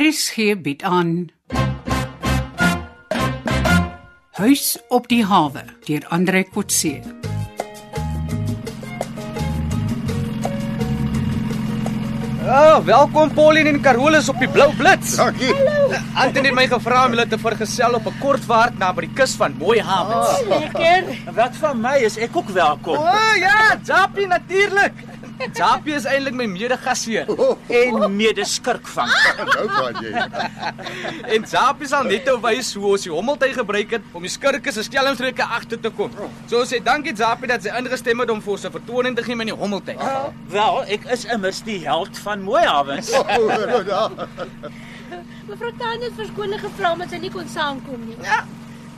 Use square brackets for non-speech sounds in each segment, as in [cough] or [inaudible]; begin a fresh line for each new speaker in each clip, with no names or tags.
RSG bied aan Huis op die hawe deur Andre Kotse.
Ja, welkom Pauline en Carolus op die Blou Blits.
Dankie.
Anton het my gevra om hulle te vergesel op 'n kort vaart na by die kus van Mooi Havens.
Lekker.
Wat van my is ek ook welkom.
O oh, ja, Japie natuurlik. Japie is eintlik my mede-gasheer
En medeskurkvanger.
Nou praat jy.
en Japie sal net nou wys hoe ons die hommeltuig gebruik het om die skurke se skelmstreke agter te kom. So ons sê dankie Japie dat sy ingestem het om vir ons 'n vertoning te gee met die hommeltuig.
Wel, ek is immers die held van Mooihavens.
[laughs] Oh, ja.
Mevrou Tannie het verskoning gevra omdat sy nie kon saamkom nie.
Ja.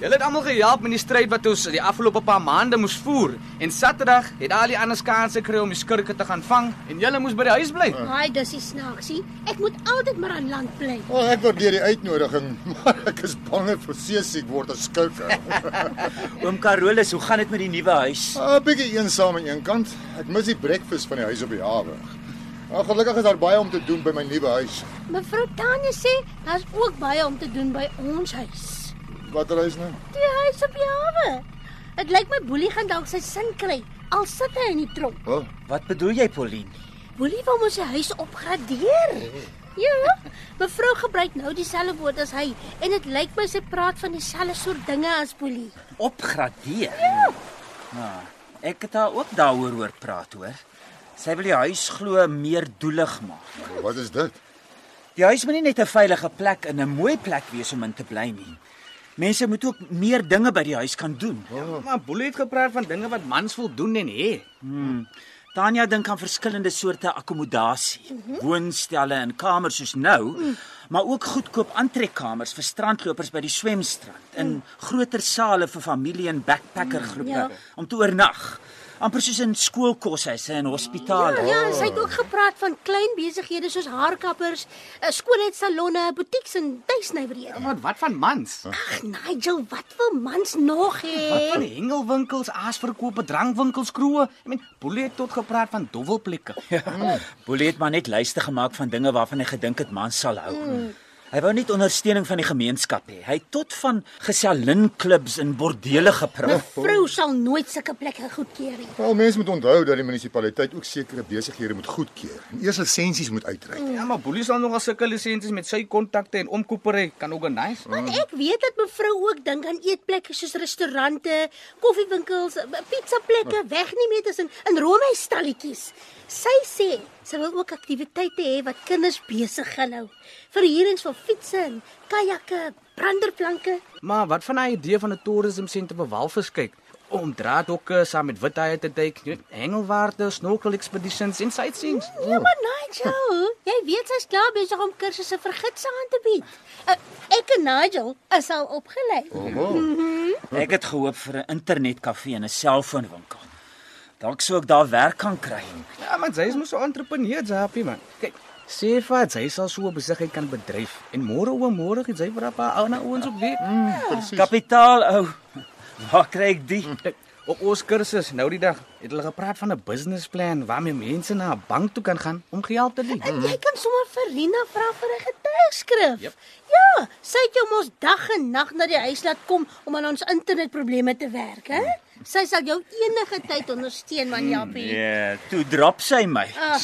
Julle het almal gehelp met die stryd wat ons die afgelope paar maande moes voer en Saterdag het al die ander skaanse kry om die skurke te gaan vang en julle moes by die huis bly.
Haai, dis die snaaksie. Ek moet altyd maar aan land bly.
Oh, ek waardeer die uitnodiging, [laughs] maar ek is bang ek versees ek word as [laughs] skouker.
Oom Carolus, hoe gaan dit met die nuwe huis?
'n Ah, Bietjie eensaam aan een kant. Ek mis die breakfast van die huis op die hawe. Maar gelukkig is daar baie om te doen by my nuwe huis.
Mevrou Tannie sê daar's ook baie om te doen by ons huis.
Watter huis nou?
Die huis op die hawe. Dit lyk my Boelie gaan dalk sy sin kry. Al sit hy in die tronk.
Wel,
Wat bedoel jy, Pauline?
Boelie wil mos sy huis opgradeer. Ja, mevrou gebruik nou dieselfde woord as hy en dit lyk my sy praat van dieselfde soort dinge as Boelie.
Opgradeer. Ja. Nou, ek het haar ook daaroor hoor praat, hoor. Sy wil die huis glo meer doelig maak.
wat is dit?
Die huis moet nie net 'n veilige plek en 'n mooi plek wees om in te bly nie. Mense moet ook meer dinge by die huis kan doen.
Ja, Maar Boelie het gepraat van dinge wat mans wil doen en hê.
Hmm. Tanya dink aan verskillende soorte akkommodasie, mm
Mhm.
-hmm. woonstelle en kamers soos nou, mm. maar ook goedkoop aantrekkamers vir strandlopers by die swemstrand en groter sale vir familie en backpacker groepe
Mm. ja.
om te oornag. amper soos in skoolkoshuise en hospitale.
Ja, en sy het ook gepraat van klein besighede soos haarkappers, eh, skoonheidssalonne, butieks en tuisnywerhede.
Maar wat van mans?
Ag Nigel, wat wil mans nog
Van
hê?
hengelwinkels, aasverkope, drankwinkels, kroë. Ek meen, Boelie het tot gepraat van dowelplekke.
Ja. Boelie het maar net lyste gemaak van dinge waarvan hy gedink het man sal hou. Mm. Hy wou net ondersteuning van die gemeenskap hê. Hy het tot van gesellinklubs en bordele gepraat.
[laughs] Vrou sal nooit sulke plekke goedkeur nie.
Wel, mense moet onthou dat die munisipaliteit ook sekere besighede moet goedkeur en eers lisensies moet uitreik.
Ja, maar Boelie sal nogal sulke lisensies met sy kontakte en omkopery kan organise.
Want ek weet dat mevrou ook dink aan eetplekke soos restaurante, koffiewinkels, eh, pizzaplekke, wegneemmeters en in roomys stalletjies. Sy sê sy wil ook aktiwiteite hê wat kinders besig gaan hou. Verhuurings van fietsse en kajakke, branderplanke.
Maar wat van daai idee van 'n toerisme sentrum vir walvis kyk? Om draadhokke saam met withaie te duik, jy weet, hengelwaarte, snorkel expeditions en sightseeings.
Ja, maar Nigel, jy weet sy's klaar besig om kursusse vir gidse aan te bied. Uh, ek en Nigel is al opgelei.
Oho.
Ek het gehoop vir 'n internetkafee en 'n selfoonwinkel. Dalk sou ek daar werk kan kry.
Ja, maar sy is mos 'n entrepreneur, Japie man. Kyk, sê vir haar sy sal so 'n besigheid kan bedryf en môre oor môre het sy vir haar pa ou na ouens op weer.
Kapitaal ou. Waar kry ek die?
Kyk, op ons kursus nou die dag het hulle gepraat van 'n business plan waarmee mense na 'n bank toe kan gaan om geld te leen.
En jy kan sommer vir Rina vra vir 'n getuigskrif.
Jep.
Ja, sy het jou mos dag en nag na die huis laat kom om aan ons internetprobleme te werk, hè? Sy sal jou enige tyd ondersteun, man Jappie.
Ja, toe drop sy my.
Ag.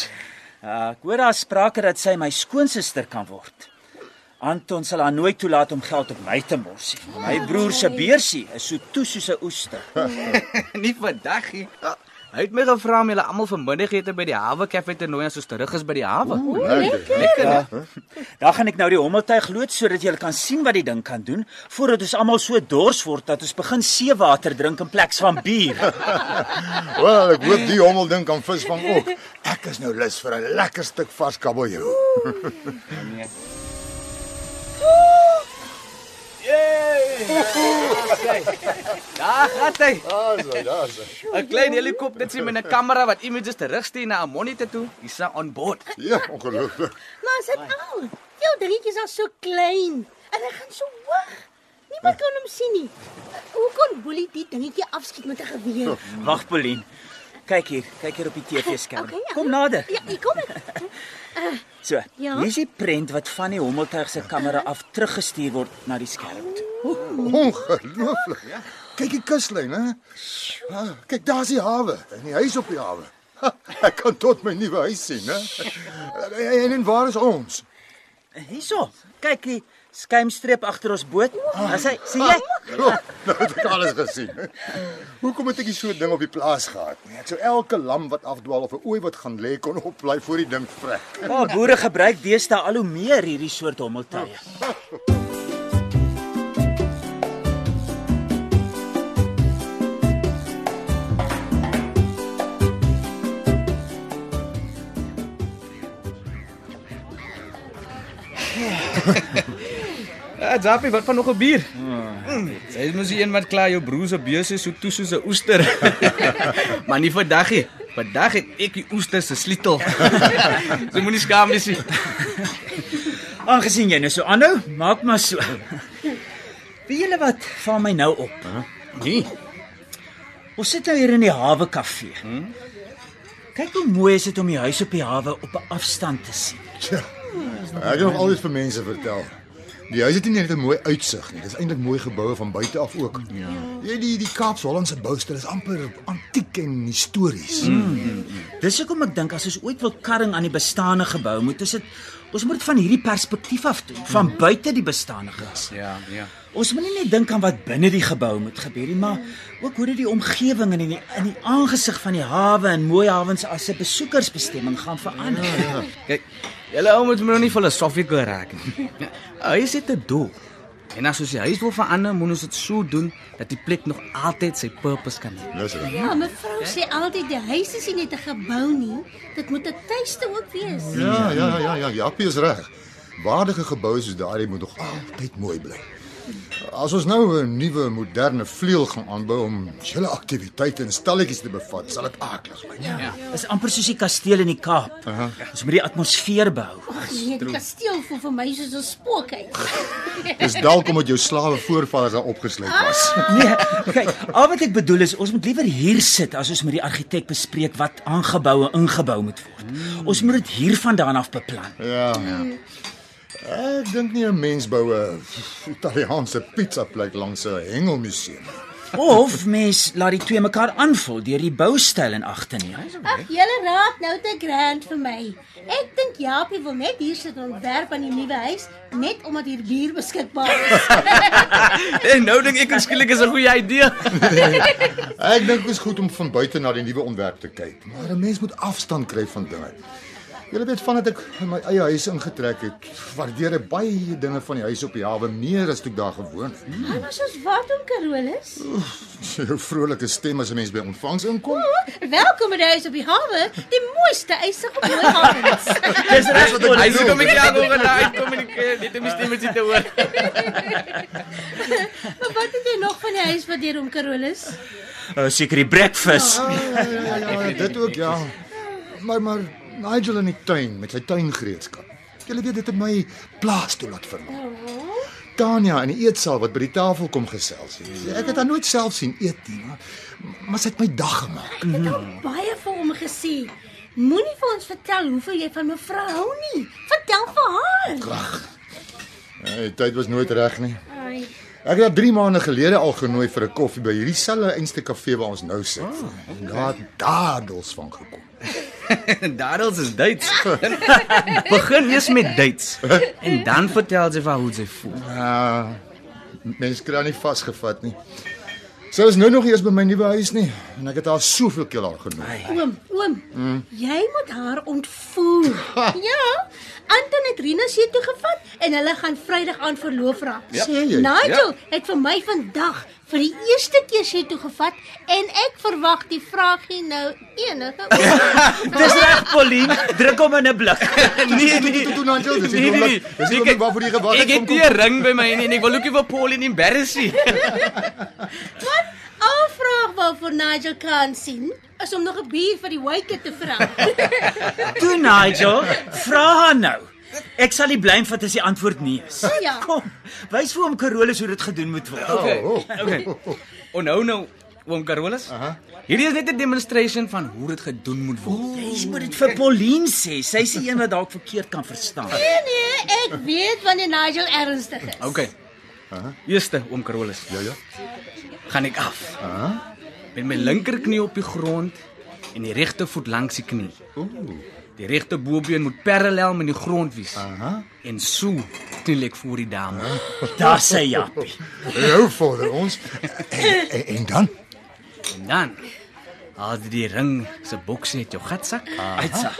Uh, ek hoor daar sprake dat sy my skoonsister kan word. Anton sal haar nooit toelaat om geld op my te mors nie. My broer se beursie is so toe soos 'n oester.
nie vandag nie. Ah, Hy het my gevra om julle almal vanmiddagete by die hawe kafe te nooi as ons terug is by die hawe.
Lekker.
Dan gaan ek nou die hommeltuig loods sodat jy kan sien wat die ding kan doen voordat ons almal so dors word dat ons begin seewater drink in plek van [laughs] bier.
Ja. Wel, ek hoop die hommel ding kan vis vang ook. Ek is nou lus vir 'n lekker stuk vars kabeljou.
Daar gaan Ja, hy.
Daar's hy, daar's hy.
'n Klein helikopter sien met 'n kamera wat images terugstuur na 'n monitor toe. Dis sy on board.
Ja, ongelooflik.
Maar sit al. Jou dingetjies is al so klein en hy gaan so hoog. Niemand kan hom sien nie. Hoe kon Boelie die dingetjie afskiet met 'n geweer?
Wag, Polien. Kyk hier, kyk hier op die TV-skerm.
Okay, okay.
Kom nader.
Ja, hier kom ek.
So,
Ja.
hier's die prent wat van die Hommeltuig se kamera af teruggestuur word na die skerm toe.
Ongelooflik. Kyk die kuslyn, hè? Ah, kyk daar's die hawe en die huis op die hawe. Ha, [laughs] Ek kan tot my nuwe huis sien, hè? En, en waar is ons?
Hierso. Kyk die skuimstreep agter ons boot. As hy sien Ah. jy?
Oh, [laughs] nou het ek alles gesien. Hoekom het ek nie so 'n ding op die plaas gehad nie? Ek sou elke lam wat afdwaal of 'n ooi wat gaan lê kon opbly voor die ding vrek.
Ja, boere gebruik deesdae al hoe meer hierdie soort hommeltuie.
Ja, Zappie, wat van nog 'n bier? Mm, Sy is mos die een wat klaar jou broer se beuse so toe soos 'n oester. [laughs] maar nie vandag nie. Vandag het ek die oester se sleutel. [laughs] so moenie skaam wees nie.
Aangesien jy nou so aanhou, maak maar so. Weet julle wat van my nou op?
Nee.
Ons sit nou hier in die hawe kafee. Kyk hoe mooi is dit om die huis op die hawe op 'n afstand te sien.
Ek het nog altyd vir mense vertel. Die huis het nie net 'n mooi uitsig nie, dit is eintlik mooi geboue van buite af ook. Ja. Jy die die Kaapse-Hollandse boustyl is amper antiek en histories. Mm.
Dis hoekom ek dink as ons ooit wil karring aan die bestaande gebou, moet ons dit ons moet dit van hierdie perspektief af doen, van buite die bestaande gebou.
Ja, ja.
Ons moenie net dink aan wat binne die gebou moet gebeur nie, maar ook hoe dit die omgewing en in die in die aangesig van die hawe en mooi hawens as 'n besoekersbestemming gaan verander.
Kyk, julle ou moet my nou nie filosofiese raak nie. Ja, Hy sê dit doel. En as ons die huis wil verander, moet ons dit so doen dat die plek nog altyd sy purpose kan hê.
Dis reg.
Ja, mevrou sê altyd die huis is nie net 'n gebou nie, dit moet 'n tuiste ook wees.
Ja, ja, ja, ja, Japie is reg. Waardige geboue soos daardie moet nog altyd mooi bly. As ons nou 'n nuwe moderne vleuel gaan aanbou om julle aktiwiteite en stalletjies te bevat, sal dit akelig bly. Ja.
Dis amper soos die kasteel in die Kaap. Uh -huh. Ons moet die atmosfeer behou.
Ag nee, die kasteel voel vir my soos 'n spookhuis.
Dis dalk omdat jou slawe voorvaders daar opgesluit was.
Nee, kyk, al wat ek bedoel is ons moet liewer hier sit as ons met die argitek bespreek wat aangebou en ingebou moet word. Ons moet dit hiervandaan af beplan.
Ja. ja. Ek dink nie 'n mens bou 'n Italiaanse pizza plek langs 'n hengelmuseum.
Of mens laat die twee mekaar aanvul deur die boustyl in ag te neem.
Ag, julle raak nou te grand vir my. Ek dink Japie wil net hier sit en ontwerp aan die nuwe huis net omdat hier bier beskikbaar [laughs] is.
En nou dink ek skielik is 'n goeie idee.
Ek dink dit is goed om van buite na die nuwe ontwerp te kyk, maar 'n mens moet afstand kry van dinge. Julle weet vandat ek in my eie huis ingetrek het, waardeer ek baie dinge van die huis op die hawe meer as toe ek daar gewoon het.
Maar ons is wat om Carolus.
[laughs] Jou vrolike stem as 'n mens by ontvangs [laughs] inkom.
Welkom by die huis op die hawe, die mooiste ysig op my [laughs] hawe.
Dis reg
wat ek
Hy
bedoel.
sê kom ek ja gou gaan uitkom en ek net om die stem te hoor.
maar wat het jy nog van die huis wat deur om Carolus?
Eh, Seker die
[laughs]
breakfast.
Ja, ja, ja, dit ook ja. Maar maar Nigel in die tuin met sy tuingereedskap. Julle weet dit het my plaas toe laat vermaak. Tanya in die eetsaal wat by die tafel kom gesels het. Ek het haar nooit self sien eet nie, maar, maar sy het my dag gemaak.
Ek het al
Mhm.
baie vir hom gesê. Moenie vir ons vertel hoeveel jy van mevrou hou nie. Vertel vir haar.
Die tyd was nooit reg nie.
Ai,
Ek het haar 3 maande gelede al genooi vir 'n koffie by hierdie selfe einste kafee waar ons nou sit.
Ah,
En Daar dadels van gekom.
Darels is dates. [laughs] Begin eers met dates en dan vertel sy vir haar hoe sy voel.
Uh mense kry haar nie vasgevat nie. Sy is nou nog eers by my nuwe huis nie en ek het haar soveel keer al genooi.
Oom, oom,
Mm.
jy moet haar ontvoer. ja. Anton het Rina se toe gevat en hulle gaan Vrydag aan verloof raak.
Ja. Sê jy?
Nigel het vir my vandag vir die eerste keer sy toe gevat en ek verwag die vraagie nou
[laughs]
enige oomblik.
Dis reg Pauline, druk hom in 'n blik.
[laughs] Nee
Toe, toe, toe, Nigel, dis die oomblik- dis die
Nee,
oomblik
kyk,
waarvoor jy gewag het,
Ek
kom,
het
kom,
nie 'n ring by my nie en ek wil ook nie vir Pauline embarrass nie.
Wat afvraag waarvoor Nigel kan sien is om nog 'n bier vir die wyke te vra.
[laughs]
Toe Nigel, vra haar nou. Ek sal nie blame vat as die antwoord nee is.
Ja.
Oh.
Kom, wys vir hom Carolus hoe dit gedoen moet word.
[laughs] Okay. Okay. Onthou nou, oom Carolus. Uh -huh. Hierdie is net 'n demonstration van hoe dit gedoen moet word.
Jy moet dit vir Pauline sê. Sy's die een wat dalk verkeerd kan verstaan.
Nee nee, ek weet wanneer Nigel ernstig is.
OK. Eerste oom Carolus.
Ja ja.
gaan ek af. Hæ? Met my linkerknie op die grond en die regte voet langs die knie. Ooh. Die regte bobeen moet parallel met die grond wees. Aha. En so kniel ek voor die dame.
Daar's sy jappie.
Jou vorder ons. En, en, en dan
En dan haal jy die ring se boksie uit jou gatsak.
Uitsa.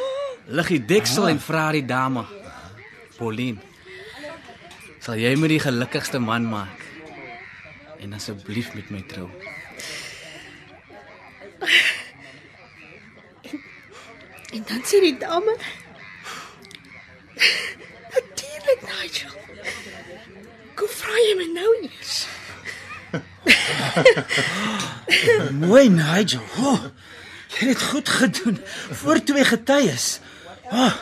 Lig die deksel en vra die dame. Pauline. Sal jy my die gelukkigste man maak? En asseblief met my trou.
En dan sê die dame Natuurlik Nigel. Kom vra jy my nou eers.
Mooi Nigel. Oh, jy het dit goed gedoen voor twee getuies. Ah,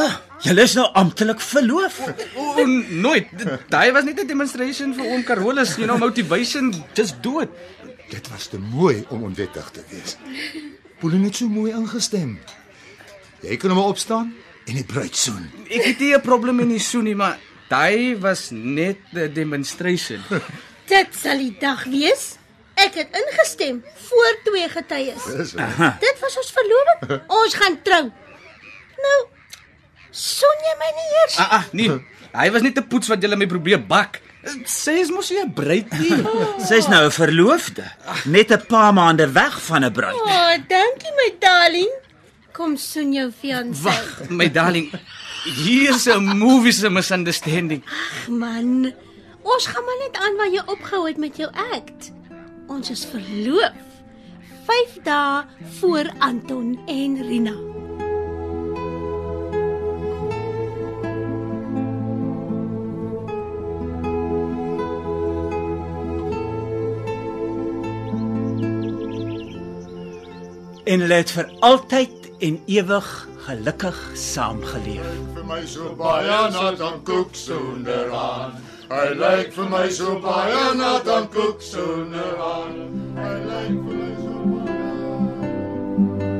ah, julle is nou amptelik verloof.
O, o, nooit. D- Daai was net 'n demonstration vir oom Carolus, you know, motivation, just do it.
dit was te mooi om onwettig te wees. Pauline het so mooi ingestem. Jy kan hom opstaan en die bruid soen.
Ek het nie 'n probleem in die soen nie, maar daai was net 'n [laughs] demonstration.
Dit sal die dag wees. Ek het ingestem voor twee getuies.
Dis
Dit was ons verloving. Ons gaan trou. Nou son jy my nie eers.
Ah, ah nee. Hy was net 'n poets wat jy my probeer bak. Sê is mos jy 'n bruid [laughs] nie.
Sy's nou 'n verloofde, net 'n paar maande weg van 'n bruid.
O, oh, dankie my darling. Kom son jou fiancé.
Wag, my darling. Hier's 'n movie se misunderstanding.
Ag man. Ons gaan maar net aan waar jy opgehou het met jou act. Ons is verloof. 5 dae voor Anton en Rina.
En hulle het vir altyd en ewig gelukkig saamgeleef.
vir my so baie na dan kook sonder aan. Hy lyk vir my so baie na dan kook sonder aan. Hy lyk vir my so baie.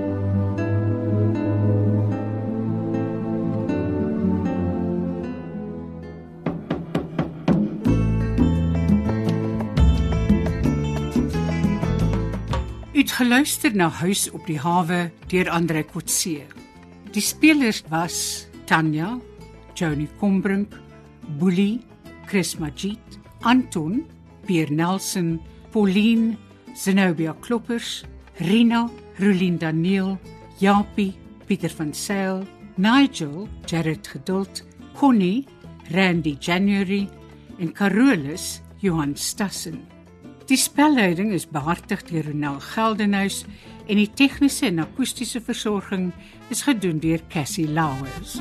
U het geluister na Huis op die hawe deur Andre Kotse. Die spelers was Tanya, Johnny Combrink, Boelie, Chris Magid, Anton, Pierre Nelson, Pauline, Zenobia Kloppers, Rina, Rulien Daniel, Japie, Pieter van Sail, Nigel, Jared Geduld, Connie, Randy January en Carolus Johan Stassen. Die spelleiding is behartig deur Ronel Geldenhuys en die tegniese en akoestiese versorging is gedoen deur Cassie Lauers.